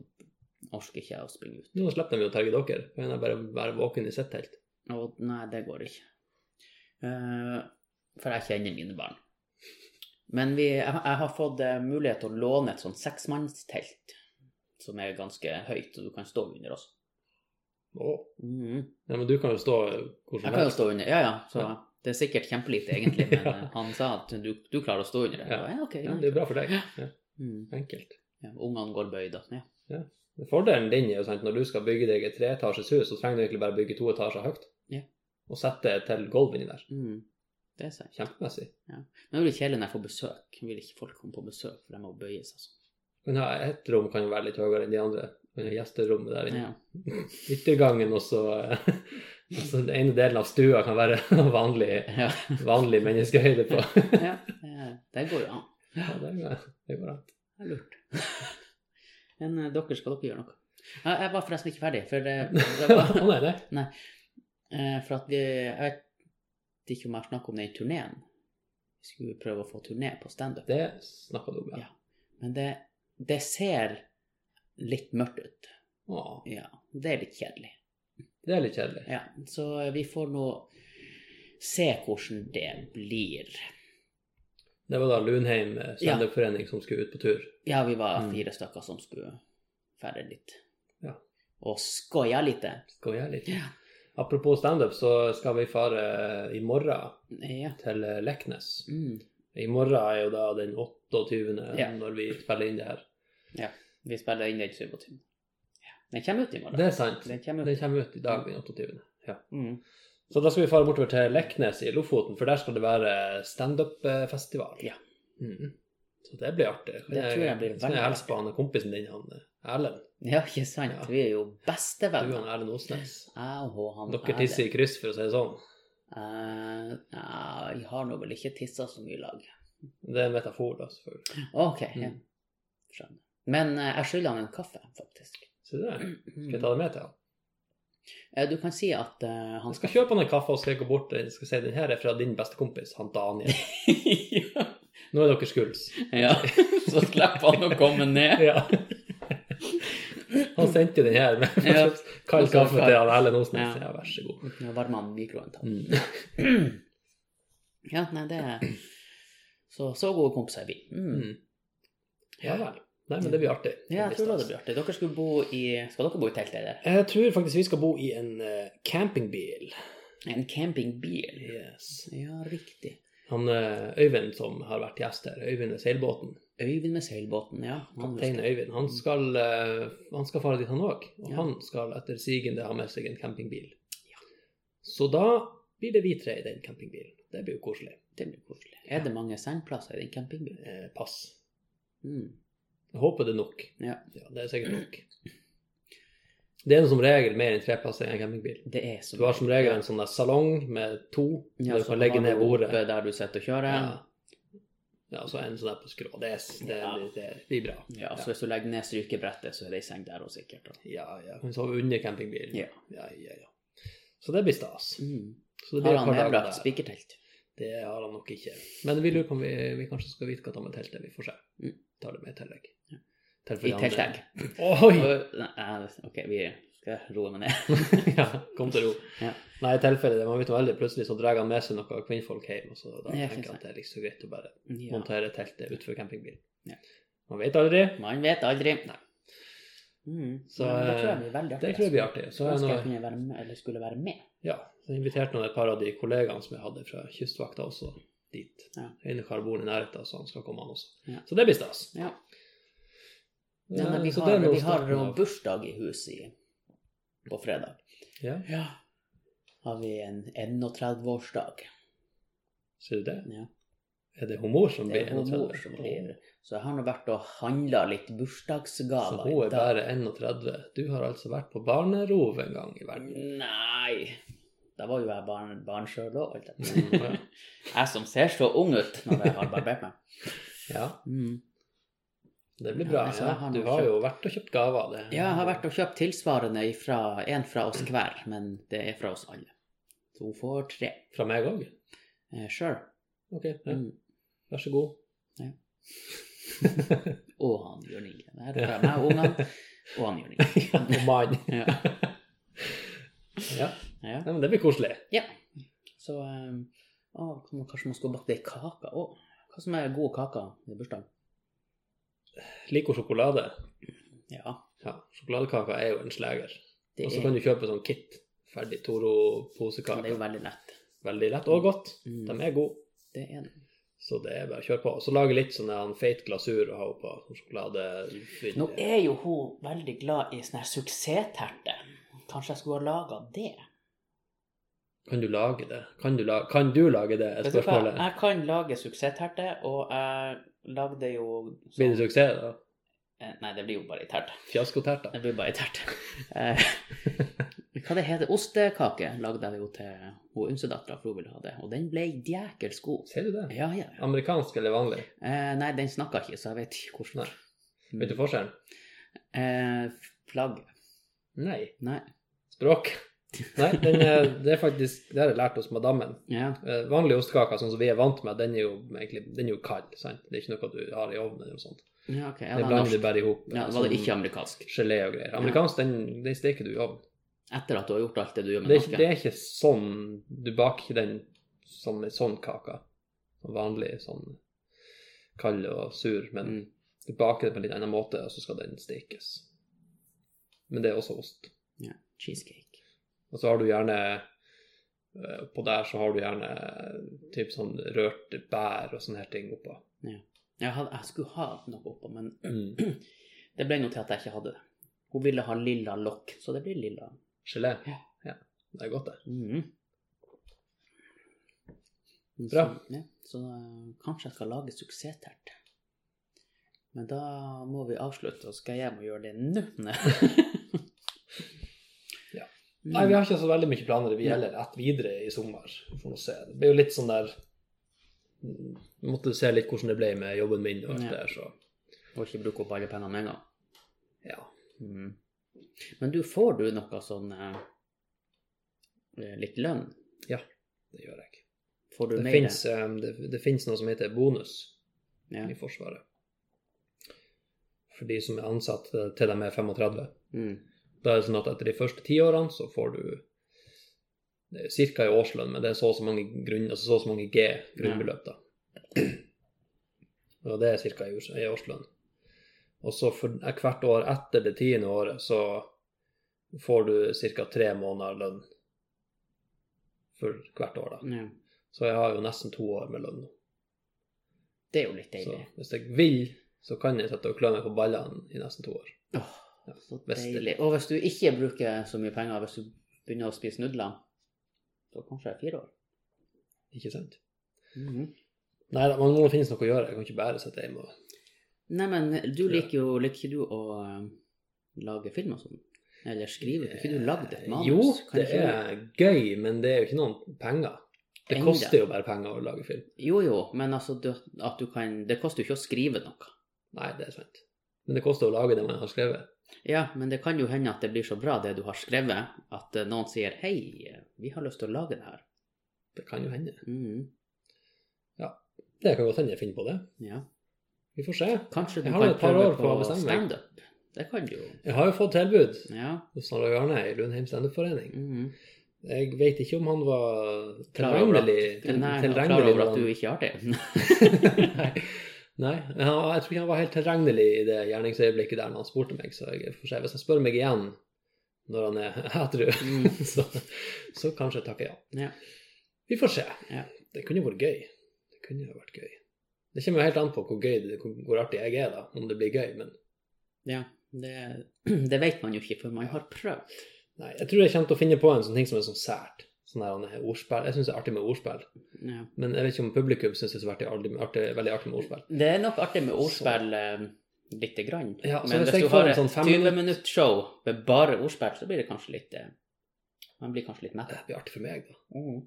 orker ikke jeg å springe ut.
Nå slipper de jo å terge dere. Kan jeg bare være våken i sitt telt?
Og nei, det går ikke. Eh, for jeg kjenner mine barn. Men vi, jeg, jeg har fått eh, mulighet til å låne et sånn seksmannstelt, som er ganske høyt, og du kan stå under også.
Å.
Mhm.
Nei, men du kan jo stå hvor
Jeg
som
kan jo
helst.
stå under, ja ja. Så
Ja.
det er sikkert kjempelite, egentlig, men
Ja.
eh, han sa at du, du klarer å stå under det.
Ja.
Ja, ja ok.
Ja, det er bra for deg. Ja,
Mhm.
enkelt.
Ja, Ungene går bøyd, da. Ja.
Fordelen din er jo sant, når du skal bygge deg et treetasjes hus, så trenger du egentlig bare bygge to etasjer høyt.
Ja.
Og sette til gulv inni der.
Mhm. Det er sant.
Kjempemessig.
Men det blir kjedelig når jeg får besøk. Jeg vil ikke folk komme på besøk, for de må bøye seg sånn.
Men ja, ett rom kan jo være litt høyere enn de andre. Men Gjesterommet der inne.
Ja.
Yttergangen og så og så den ene delen av stua kan være vanlig,
Ja.
vanlig menneskehøyde på.
ja. eh, Det går jo an.
Ja, det er det er bra.
Det er lurt. Men eh, dere, skal dere gjøre noe? Ja, jeg var forresten ikke ferdig, for det, det
Å
var
nei, nei.
eh, For at vi Jeg vet ikke om jeg har snakket om den turneen. Vi skulle prøve å få turné på standup.
Det snakka du om, ja.
Ja. Men det, det ser litt mørkt ut.
Å,
Ja. Det er litt kjedelig.
det er litt kjedelig.
Ja, så vi får nå se hvordan det blir.
Det var da Lunheim eh, standup-forening som skulle ut på tur.
Ja, vi var
Mm.
fire stykker som skulle ferde litt.
Ja.
Og skoja litt.
Skal vi gjøre litt?
Ja.
Apropos standup, så skal vi fare i morgen
Ja.
til Leknes.
Mm.
I morgen er jo da den 28.
Ja.
når vi spiller inn det her.
Vi spiller inn den 27. Ja. Den kommer ut i morgen.
Det er sant.
Den kommer
Den
ut.
kommer ut i dag, den 28.
Mm.
Så da skal vi fare bortover til Leknes i Lofoten, for der skal det være standup-festival.
Ja.
Mhm. Så det blir artig. Kan
Det tror jeg blir
Skal
veldig
jeg hilse på han kompisen din, han eh, Erlend?
Ja, ikke sant?
Ja.
Vi er jo
Du og
bestevenner.
han Erlend Osnes.
Jeg og han
Dere tisser i kryss, for å si det sånn.
Uh, jeg har nå vel ikke tissa så mye i lag.
Det er en metafor, da, selvfølgelig.
OK. Ja.
Mm.
Skjønner. Men eh, jeg skylder han en kaffe, faktisk. Mm.
Så det skal jeg ta det med til han.
Eh, Du kan si at eh, han
Han skal kjøpe han en kaffe og skal gå bort og skal si den her er fra din bestekompis, han Daniel.
ja.
Nå er dere skuls.
ja. Så slipper han å komme ned.
Ja. Han sendte jo den her med
Ja.
kald kaffe til han Erlend Osnes.
Ja.
Ja, vær så god.
Uten å varme han mikroen. takk.
Mm.
Ja, nei, det er Så, så gode kompiser er vi. Mm.
Mm. Ja vel. Nei, men det blir artig.
Ja, jeg tror da
stas.
det blir artig. Dere skulle bo i Skal dere bo i telt, eller?
Jeg tror faktisk vi skal bo i en eh, campingbil.
En campingbil?
Yes.
Ja, riktig.
Han eh, Øyvind som har vært gjest her, Øyvind ved seilbåten,
Øyvind med seilbåten, ja. Han
kaptein Øyvind, han skal, eh, han skal fare dit han òg. Og
Ja.
han skal etter sigende ha med seg en campingbil.
Ja.
Så da blir det vi tre i den campingbilen. Det blir jo koselig.
Det blir koselig. Er det mange sengeplasser i den campingbilen?
Eh, pass.
Mm.
Jeg håper det er nok.
Ja.
Det er sikkert nok. Det er som regel mer enn tre plasser i en campingbil.
Det er så
Du har som regel en sånn der salong med to,
Ja,
der du
så
kan legge
har
ned
du
bordet.
oppe Der du sitter og kjører.
Ja. ja, og så en sånn der på skrå. Det, er- det,
Ja.
det, det blir bra.
Ja, så hvis du legger ned strykebrettet, så er det ei seng der òg, sikkert. da.
Ja, ja. Kan sove under campingbilen.
Ja.
ja, ja, ja. Så det blir stas.
Mm.
Så det blir et
Har han
par dager
medbrakt
der.
spikertelt?
Det har han nok ikke. Men vi lurer på om vi, vi kanskje skal vite hva han har med teltet. Vi får se.
Mm.
Tar det med i tillegg.
Ja.
Til for
I
de andre.
teltegg?
Oi!
Nei, OK, vi skal roe meg ned.
ja, kom til ro.
Ja.
Nei, i tilfelle det man vet jo veldig, plutselig så drar han med seg noen kvinnfolk hjem, og så da
Ja,
tenker
ikke
jeg
sant.
at det er liksom greit å bare
Ja.
montere teltet utenfor campingbilen.
Ja.
Man vet aldri.
Man vet aldri. Mm.
Så,
Men det tror
eh,
jeg blir veldig artig.
Det tror jeg blir artig. Så
Så
er
ønsker jeg
noe,
kunne være med, eller skulle være med.
ja, så inviterte han et par av de kollegaene som jeg hadde fra Kystvakta også dit.
Ja.
Ene kar bor i nærheten, så han skal komme han også.
Ja.
Så det blir stas.
Ja.
Eh,
Nei, men vi
så det
har,
er noe
vi har
starten
jo
av-
bursdag i huset i, på fredag.
Ja,
Ja. Har vi en 31-årsdag.
ser du det?
Ja.
Er det humor som blir
Det er hun mor
31?
som blir Så jeg har nå vært og handla litt
Så
bursdagsgaver.
hun
i
er
dag.
bare 31. Du har altså vært på barnerov en gang i verden.
Nei. Da var jo jeg barn, barn sjøl òg.
Mm,
Jeg som ser så ung ut når jeg har barbert meg.
Ja,
Mm.
Det blir
Ja,
bra.
altså,
Ja,
jeg har
Du
nå
har jo vært og kjøpt gaver. Det.
Ja, jeg har vært og kjøpt tilsvarende fra en fra oss hver, men det er fra oss alle. Så hun får tre.
Fra meg òg?
Eh, Sjøl.
Ok, ja.
Mm.
vær så god.
Ja. Og han Jørn Inge. Det her er fra meg og ungene, og han Jørn Inge.
Og mann.
Ja.
Ja.
Ja.
Nei, men det blir koselig.
ja. Så um, å, kanskje man skulle bakt ei kake òg. Hva som er gode kaker i bursdagen?
Liker sjokolade.
Ja,
Ja, Sjokoladekaker er jo en sleger.
det
Og så
er,
kan du kjøpe sånn kit. Ferdig
det er
Toro-posekaker.
jo veldig lett.
Veldig lett og godt.
Mm.
De er gode.
Det er det.
Så det er bare å kjøre på. Og så lage litt sånn en feit glasur å ha oppå. sånn Sjokolade
Nå er jo hun veldig glad i sånne her suksessterter. Kanskje jeg skulle ha laga det?
Kan du lage det? Kan du, la kan du lage det? er
Vet du hva?
spørsmålet.
Jeg kan lage suksessterter, og jeg lagde jo sånn-
Blir det suksess, da?
Eh, Nei, det blir jo bare ei terte.
Fiaskoterter?
Det blir bare ei terte. Eh, Hva det heter Ostekake lagde jeg jo til hun yngstedattera, for hun ville ha det. Og den ble djekelsk god.
Ser du det?
Ja, ja. ja.
Amerikansk eller vanlig?
Eh, nei, den snakka ikke, så jeg vet ikke hvordan.
Nei. Vet du forskjellen?
Eh, flagg.
Nei.
Nei.
Språk? Nei, den er, det er faktisk Det har jeg lært hos madammen.
Ja.
Eh, Vanlige ostekaker, sånn som vi er vant med, den er jo egentlig den er jo kald. sant? Det er ikke noe du har i ovnen eller noe sånt.
ja, ok. Ja,
Det
da,
blander
norsk.
du bare i hop. sånn
Ja, var det ikke amerikansk?
gelé og greier. Amerikansk, den, den steker du i ovnen.
Etter at du har gjort alt det du gjør med
Det er, ikke, det
norske?
er ikke sånn Du baker ikke den som en sånn kake. Sånn vanlig sånn kald og sur, men
Mm.
du baker det på en litt annen måte, og så skal den stekes. Men det er også ost.
Cheesecake.
Og så har du gjerne eh, På der så har du gjerne eh, typ sånn rørt bær og sånne her ting oppå.
Jeg, hadde, jeg skulle ha noe oppå, men
Mm.
det ble nå til at jeg ikke hadde det. Hun ville ha lilla lokk, så det blir lilla.
Gelé.
Ja.
Ja. Det er godt, det.
Mhm. Men
Bra.
Så, ja, så eh, kanskje jeg skal lage suksesstert. Men da må vi avslutte, og skal jeg hjem og gjøre det nå?
Ja.
Mm.
Nei, vi har ikke så veldig mye planer vi
Nei.
heller rett videre i sommer. Får nå se. Det blir jo litt sånn der mm, Måtte se litt hvordan det ble med jobben min og alt
Ja.
det der, så
Og ikke bruke opp alle pengene med en gang.
ja. Mm.
Mhm. Men du, får du noe sånn eh, litt lønn?
Det gjør jeg.
Får du
Det
mer?
finnes, eh, det, det finnes noe som heter bonus
Ja.
i Forsvaret. For de som er ansatt eh, til de er 35.
Mm.
Da er det sånn at etter de første ti årene så får du ca. i årslønn, men det er så og så mange, grunn, altså så og så mange G grunnbeløp, da. Og det er ca. i årslønn. Og så for, eh, hvert år etter det tiende året så får du ca. tre måneder lønn for hvert år, da.
Ja.
Så jeg har jo nesten to år med lønn nå.
Det er jo litt
Så
deilig.
hvis jeg vil, så kan jeg sette og klø meg på ballene i nesten to år.
Åh, så
hvis det-
deilig. Og hvis du ikke bruker så mye penger, hvis du begynner å spise nudler, så kanskje det er fire år.
Ikke sant?
Mhm.
Nei da, man må finnes noe å gjøre. Jeg kan ikke bare sitte hjemme og
Nei, men du liker jo Liker du å eh, lage film og sånn? Eller skrive? Kan ikke du lagd et manus?
Eh, Jo, det
Kan ikke du-
er gøy, men det er jo ikke noen penger. Det
Enda.
koster jo bare penger å lage film.
Jo, jo, men altså du, at du kan Det koster jo ikke å skrive noe.
Nei, det er sant. Men det koster å lage det man har skrevet.
Ja, men det kan jo hende at det blir så bra, det du har skrevet, at eh, noen sier 'Hei, eh, vi har lyst til å lage det her'.
Det kan jo hende.
Mhm.
Det kan godt hende jeg finner på det.
Ja.
Vi får se.
Kanskje du
Jeg har
kan
et par
prøve
år på å
på
bestemme meg.
standup? Det kan du jo.
Jeg har jo fått tilbud
Ja.
hos Snorre og Arne i Lundheim standup-forening.
mhm.
Jeg vet ikke om han var
Klar over at,
tilregnelig til-
nei,
tilregnelig
klar over
når
at du
han-
ikke har det.
Nei, men han, jeg tror ikke han var helt tilregnelig i det gjerningsøyeblikket der når han spurte meg, så jeg får se. Hvis han spør meg igjen når han er edru,
Mm.
så, så kanskje jeg takker ja.
Ja.
Vi får se.
Ja.
Det kunne jo vært gøy. Det kunne jo vært gøy. Det kommer jo helt an på hvor gøy det, hvor, hvor artig jeg er, da, om det blir gøy. Men
Ja, det, det vet man jo ikke før man har prøvd.
nei, jeg tror jeg kommer til å finne på en sånn ting som er sånn sært. Sånn her, han er ordspill. Jeg syns det er artig med ordspill,
Ja.
men jeg vet ikke om publikum syns det er så artig, artig, artig, veldig artig med ordspill.
Det er nok artig med ordspill eh, lite grann.
Ja, så
Men
hvis
hvis
jeg
du
får
har
en
et
sånn fem
20 minutt show med bare ordspill, så blir det kanskje litt eh, Man blir kanskje litt mett.
Det blir artig for meg, da.
Mm.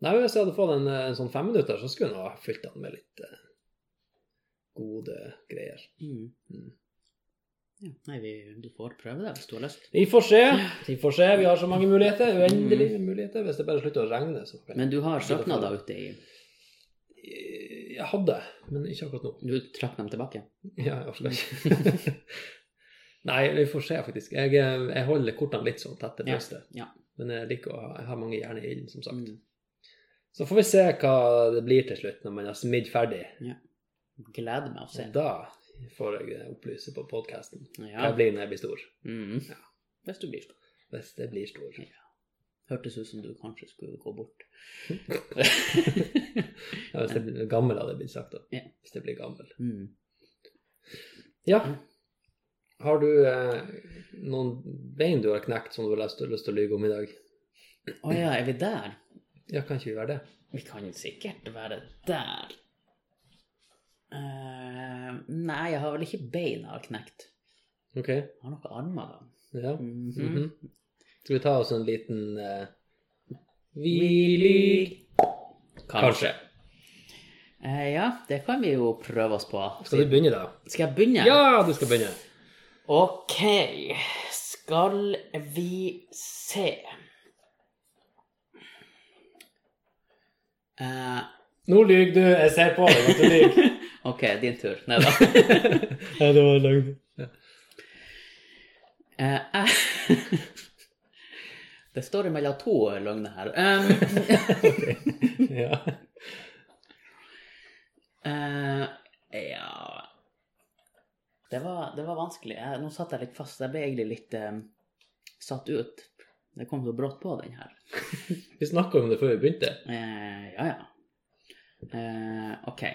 Nei, men Hvis jeg hadde fått en, eh, en sånn femminutter, så skulle jeg nå ha fylt den med litt eh, gode greier.
Mm.
Mm.
Ja, nei, vi, du får prøve det hvis du har lyst.
Vi får se. Vi får se. Vi har så mange muligheter. Uendelige muligheter. Hvis det bare slutter å regne, så kan
Mm. Men du har søknader ute i
Jeg hadde, men ikke akkurat nå.
Du trakk dem tilbake?
Ja, jeg orker ikke. Nei, vi får se, faktisk. Jeg, eh, jeg holder kortene litt sånn tett til
Ja,
brystet.
ja.
Men jeg liker å ha jeg har mange jern i ilden, som sagt.
Mm.
Så får vi se hva det blir til slutt, når man har smidd ferdig.
Gleder meg å se.
Og da får jeg eh, opplyse på podkasten hva
Ja.
jeg blir når jeg blir stor.
Mm.
Ja.
Hvis du blir stor.
Hvis jeg blir stor.
Hørtes ut som du kanskje skulle gå bort.
Ja, hvis jeg blir gammel, hadde det blitt sagt. da.
Ja.
Hvis jeg blir gammel.
mm.
Ja. Mm. Har du eh, noen bein du har knekt som du har lyst, lyst til å lyve om i dag?
Å ja, er vi der?
Ja, kan ikke vi være det?
Vi kan sikkert være der. Eh, nei, jeg har vel ikke bein jeg har knekt.
Ok.
Jeg har noen armer, da.
Ja.
Mhm.
Mhm. Skal vi ta oss en liten eh, Hvili Kanskje.
Eh, ja, det kan vi jo prøve oss på.
Skal du begynne, da?
Skal jeg begynne?
Ja, du skal begynne.
Ok, skal vi se. Eh,
Nå lyver du. Jeg ser på deg at du lyver.
ok, din tur. Nei da.
ja, det var løgn.
Eh, jeg- det står imellom to løgner her. Um,
Ja.
eh, ja det var, det var vanskelig. Jeg, nå satt jeg litt fast. Jeg ble egentlig litt eh, satt ut. Det kom så brått på, den her.
Vi snakka om det før vi begynte.
Eh, ja, ja. Eh, ok.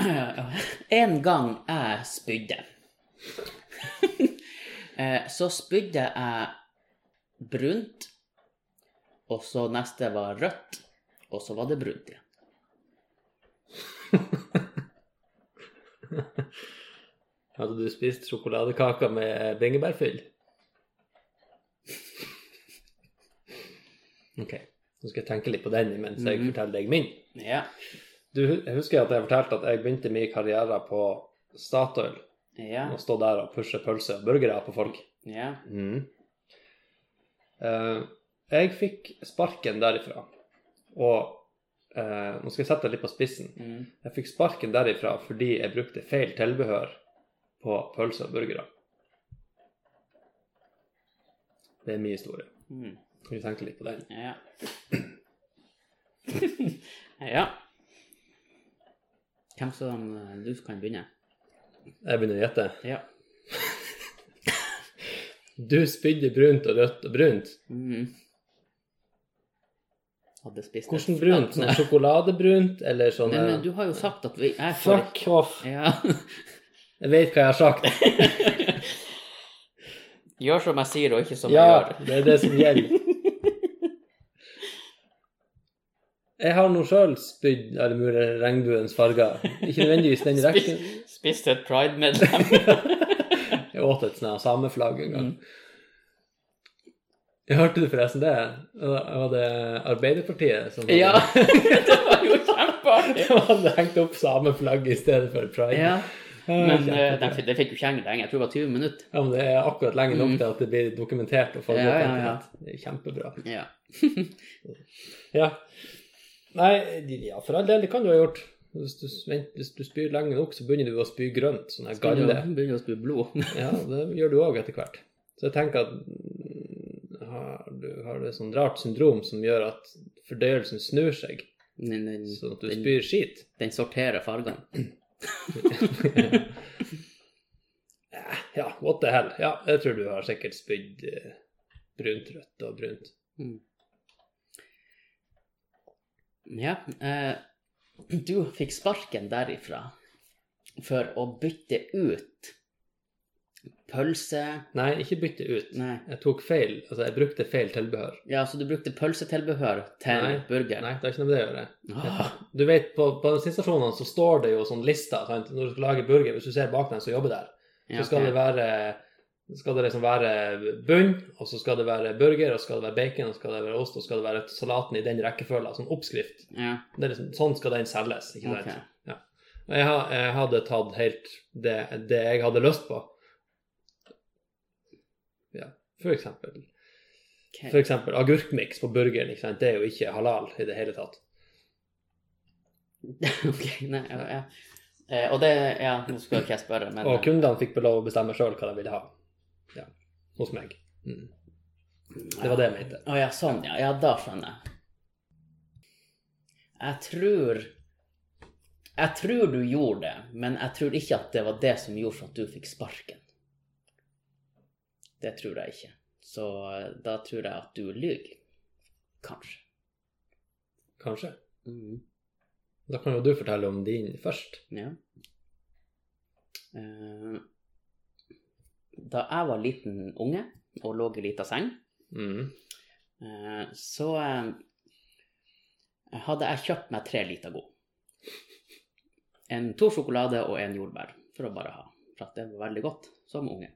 en gang jeg spydde, eh, så spydde jeg brunt, og så neste var rødt, og så var det brunt igjen.
Hadde du spist sjokoladekaker med bringebærfyll? Ok, nå skal jeg tenke litt på den mens jeg
Mhm.
forteller deg min.
Ja.
Du, jeg husker at jeg fortalte at jeg begynte min karriere på Statoil.
Ja.
Å stå der og pushe pølser og burgere på folk.
ja.
Eh, jeg fikk sparken derifra, og eh, nå skal jeg sette det litt på spissen.
Mm.
Jeg fikk sparken derifra fordi jeg brukte feil tilbehør på pølser og burgere. Det er min historie.
Mm.
Kan du tenke litt på den?
Ja. ja. Hvem som eh, Du kan begynne.
Jeg begynner å gjette.
Ja.
Du spydde brunt og rødt og brunt.
Mm. Hadde spist
Hvordan
det.
brunt? Sånn sjokoladebrunt eller sånn
Nei, men
eh,
du har jo sagt at vi jeg får
Fuck off!
ikke- Ja.
Jeg vet hva jeg har sagt.
Gjør som jeg sier, og ikke som
ja,
jeg gjør.
det er det som gjelder. Jeg har nå sjøl spydd alle mulige regnbuens farger. Ikke nødvendigvis den rekken.
Spist, spist et pride-medlem.
Jeg åt et sånt her sameflagg en gang.
Mm.
Jeg hørte du forresten det? Det var det Arbeiderpartiet som hadde,
ja. det var jo kjempeartig.
som hadde hengt opp sameflagg i stedet for pride.
Ja.
Ja,
Men
kjempe-
eh, den fikk- det fikk jo ikke henge lenge. Jeg tror det var 20 minutter.
ja, men det er akkurat lenge nok
Mm.
til at det blir dokumentert. og folk
Ja,
går
ja,
til
ja.
at Det er kjempebra.
Ja.
Ja. Nei, de- ja, for all del, det kan du ha gjort. Hvis du, vent, hvis du spyr lenge nok, så begynner du å spy grønt. Sånn her galle.
Begynner å- Begynner å spy blod.
Ja, det gjør du òg etter hvert. Så jeg tenker at mm, har du har du et sånt rart syndrom som gjør at fordøyelsen snur seg,
Den, den,
sånn at du
den,
spyr skit?
den sorterer fargene.
Ja, what the hell. Ja, jeg tror du har sikkert spydd eh, brunt, rødt og brunt.
Ja. Eh, du fikk sparken derifra for å bytte ut pølse
Nei, ikke bytte ut.
Nei.
Jeg tok feil, altså jeg brukte feil tilbehør.
Ja, så du brukte pølsetilbehør til
Nei.
burger?
Nei, det har ikke noe med det å gjøre.
Ah,
Du vet, på, på bensinstasjonene så står det jo sånn lister sant? når du skal lage burger. Hvis du ser bak dem som jobber der,
ja,
så skal
ok.
det være skal det liksom være bunn, og så skal det være burger, og så skal det være bacon, og så skal det være ost, og så skal det være salaten i den rekkefølgen. Sånn oppskrift.
ja,
Det er liksom, sånn skal den selges. ikke
ok.
sant? Ja. Og Jeg, ha- jeg hadde tatt helt det, det jeg hadde lyst på. Ja, for eksempel.
Ok.
For eksempel agurkmiks på burgeren, ikke sant? det er jo ikke halal i det hele tatt.
ok, nei, ja, ja. Eh, Og det, ja, nå skulle ikke jeg spørre, men
Og kundene fikk lov å bestemme sjøl hva de ville ha. Ja, hos meg. Mm.
eh,
Det var det jeg mente.
Å ja, sånn, ja. Ja, da skjønner jeg. Jeg tror Jeg tror du gjorde det, men jeg tror ikke at det var det som gjorde at du fikk sparken. Det tror jeg ikke. Så eh, da tror jeg at du lyver. Kanskje.
Kanskje.
Mhm.
Da kan jo du fortelle om din først.
Ja. Eh, Da jeg var liten unge og lå i lita seng,
Mm.
Eh, så eh, hadde jeg kjøpt meg tre liter god. En to sjokolade og en jordbær, for å bare ha. For at det var veldig godt som unge.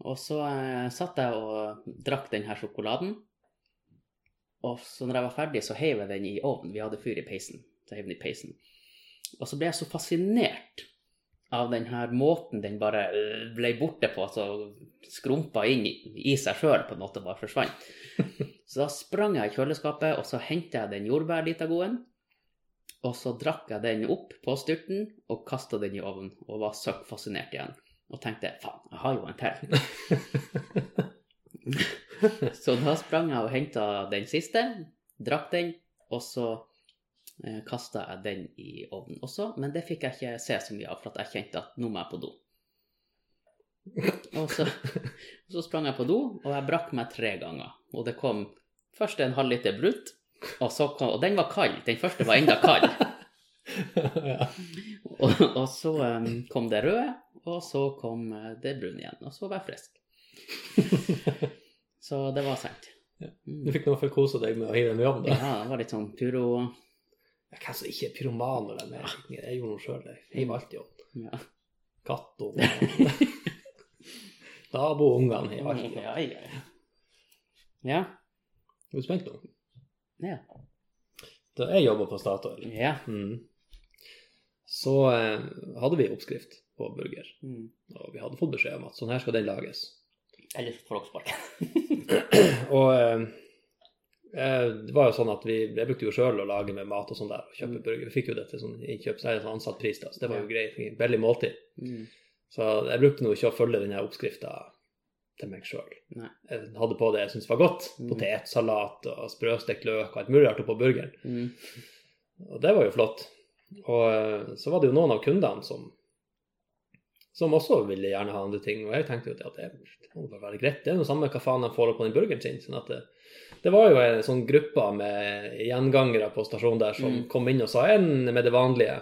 Og så eh, satt jeg og drakk den her sjokoladen. Og så når jeg var ferdig, så heiv jeg den i ovnen. Vi hadde fyr i peisen. Så heiv den i peisen. Og så ble jeg så fascinert av den her måten den bare øh, ble borte på, altså skrumpa inn i- i seg sjøl på en måte, bare forsvant. Så da sprang jeg i kjøleskapet, og så henta jeg den jordbærlitagoen. Og så drakk jeg den opp på styrten og kasta den i ovnen, og var søkk fascinert igjen. Og tenkte faen, jeg har jo en til. så da sprang jeg og henta den siste, drakk den, og så eh, kasta jeg den i ovnen også, men det fikk jeg ikke se så mye av, for at jeg kjente at nå må jeg på do. Og så, så sprang jeg på do, og jeg brakk meg tre ganger. Og det kom først en halv liter brunt, og, så kom, og den var kald. Den første var enda kald.
ja.
Og, og så eh, kom det røde, og så kom eh, det brune igjen. Og så var jeg frisk. Så det var seint.
Ja. Du
Mm.
fikk i hvert fall kose deg med å hive en jobb, da.
Ja, det var litt sånn puro
Ja, Hvem som ikke er pyroman når de er liten? Jeg gjorde noe sjøl, jeg. Hiv alt i ovnen.
ja.
Kattunger. Naboungene hiver alt i ovnen.
Ja, ja, ja. ja.
Er du spent nå?
Ja.
Da jeg jobba på Statoil,
ja.
mm. så eh, hadde vi oppskrift på burger.
Mm.
Og vi hadde fått beskjed om at sånn her skal den lages.
Eller så får dere sparken.
Og eh, eh, det var jo sånn at vi jeg brukte jo sjøl å lage med mat og sånn der, og kjøpe
Mm.
burger. Vi fikk jo det til sånn innkjøps, nei, sånn ansatt pris, da, så det var
Ja.
jo greit. en Billig måltid.
Mm.
Så jeg brukte nå ikke å følge den her oppskrifta til meg sjøl.
Nei.
Jeg hadde på det jeg syntes var godt.
Mm.
Potetsalat og sprøstekt løk og alt mulig rart oppå burgeren.
Mm.
Og det var jo flott. Og eh, så var det jo noen av kundene som som også ville gjerne ha andre ting. Og jeg tenkte jo at ja, det, det må bare være greit. Det er jo det samme hva faen de får opp på den burgeren sin. sånn at det, det var jo en sånn gruppe med gjengangere på stasjonen der som
Mm.
kom inn og sa en med det vanlige.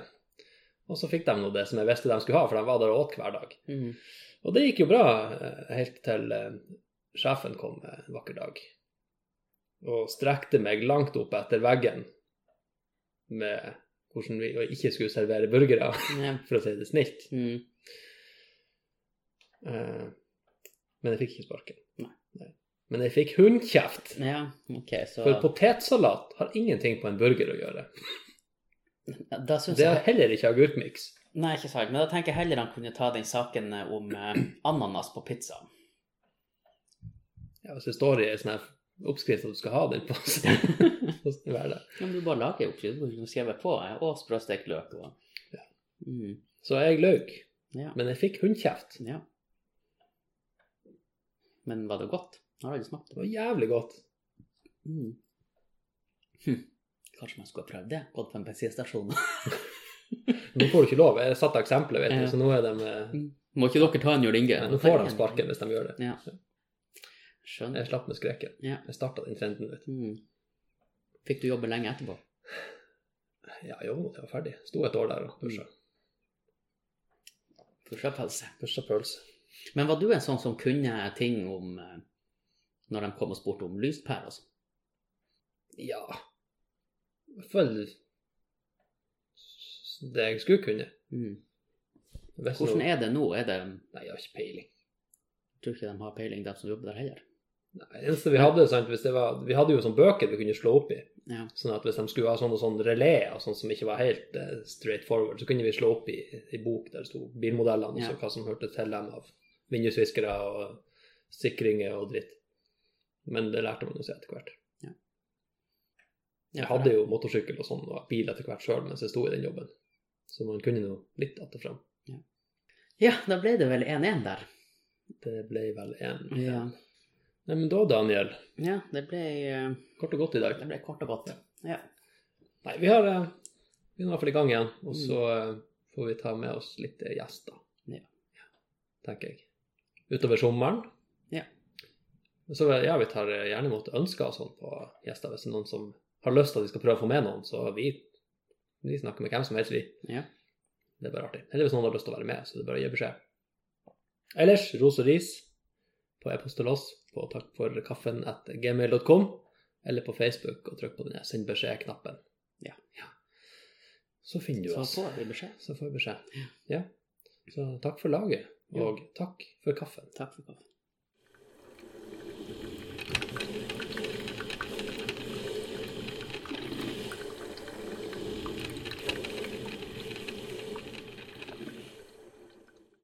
Og så fikk de nå det som jeg visste de skulle ha, for de var der og åt hver dag.
Mm.
Og det gikk jo bra eh, helt til eh, sjefen kom eh, en vakker dag og strekte meg langt opp etter veggen med hvordan vi ikke skulle servere burgere,
Ja.
for å si det snilt.
Mm.
Eh, Men jeg fikk ikke sparken.
Nei.
Nei. Men jeg fikk hundkjeft!
Ja, ok, så
For potetsalat har ingenting på en burger å gjøre.
da synes
Det har
jeg,
heller ikke agurkmiks.
Nei, ikke sant, men da tenker jeg heller han kunne ta den saken eh, om eh, ananas på pizza.
Ja, hvis det står i en sånn her oppskrift at du skal ha den på, så så vær det.
Ja, men du bare lager jo ikke, du kunne skrevet på, eh, og sprøstekt løk og
Ja.
Mm.
Så jeg løy.
Ja.
Men jeg fikk hundkjeft.
ja. Men var det godt? Har du aldri smakt
Det
det?
var jævlig godt.
Mm. Hm. Kanskje man skulle ha prøvd det? Gått på en bensinstasjon?
Nå får du ikke lov. Jeg satte eksempler, vet du,
Ja.
så nå er de eh,
Må ikke dere ta en Jørn Inge?
ja, Nå får de sparken hvis de gjør det.
Ja. Skjønner.
Jeg slapp med skrekken.
Ja.
Jeg starta den trenden. Vet.
Mm. Fikk du jobbe lenge etterpå?
du. Ja, jo, det var ferdig. Sto et år der og pusha.
Mm. Pusha-pølse.
Pusha pølse.
Men var du en sånn som kunne ting om eh, Når de kom og spurte om lyspære og sånn?
Ja Følg det jeg skulle kunne.
Mm.
Hvis
Hvordan
nå-
er det nå? Er det,
Nei, jeg har ikke peiling.
jeg tror ikke de har peiling, de som jobber der heller.
Det eneste vi hadde, sant, hvis det var, vi hadde jo sånn bøker vi kunne slå opp i.
Ja.
Sånn at hvis de skulle ha sånne, sånne relé og sånn som ikke var helt eh, straight forward, så kunne vi slå opp i i bok der det sto bilmodellene og
Ja.
så hva som hørte til dem av vindusviskere og sikringer og dritt. Men det lærte man jo seg etter hvert.
Ja,
Jeg hadde jo motorsykkel og sånn og bil etter hvert sjøl mens jeg sto i den jobben, så man kunne nå litt att og frem.
ja, da ble det vel 1-1 der.
Det ble vel én.
Ja.
Nei, men da, Daniel,
ja, det ble, eh,
kort og godt i dag.
det ble kort og godt. Ja.
Nei, vi har eh, Vi er i hvert fall i gang igjen, og så eh, får vi ta med oss litt eh, gjester.
Mm. Ja.
Tenker jeg. Utover sommeren.
Ja.
Så eh, ja, vi tar eh, gjerne imot ønsker og sånn på gjester. Hvis det er noen som har lyst til at vi skal prøve å få med noen, så vi, vi snakker med hvem som helst, vi.
Ja.
Det er bare artig. Eller hvis noen har lyst til å være med, så det er bare å gi beskjed. Ellers ros og ris på e-post til oss på takkforkaffen at gmail.com, eller på Facebook og trykk på den her send beskjed-knappen.
Ja.
Så finner du
Så
oss.
får vi beskjed.
Så får vi beskjed. Ja. Så takk for laget, og takk for kaffen.
Takk for kaffen.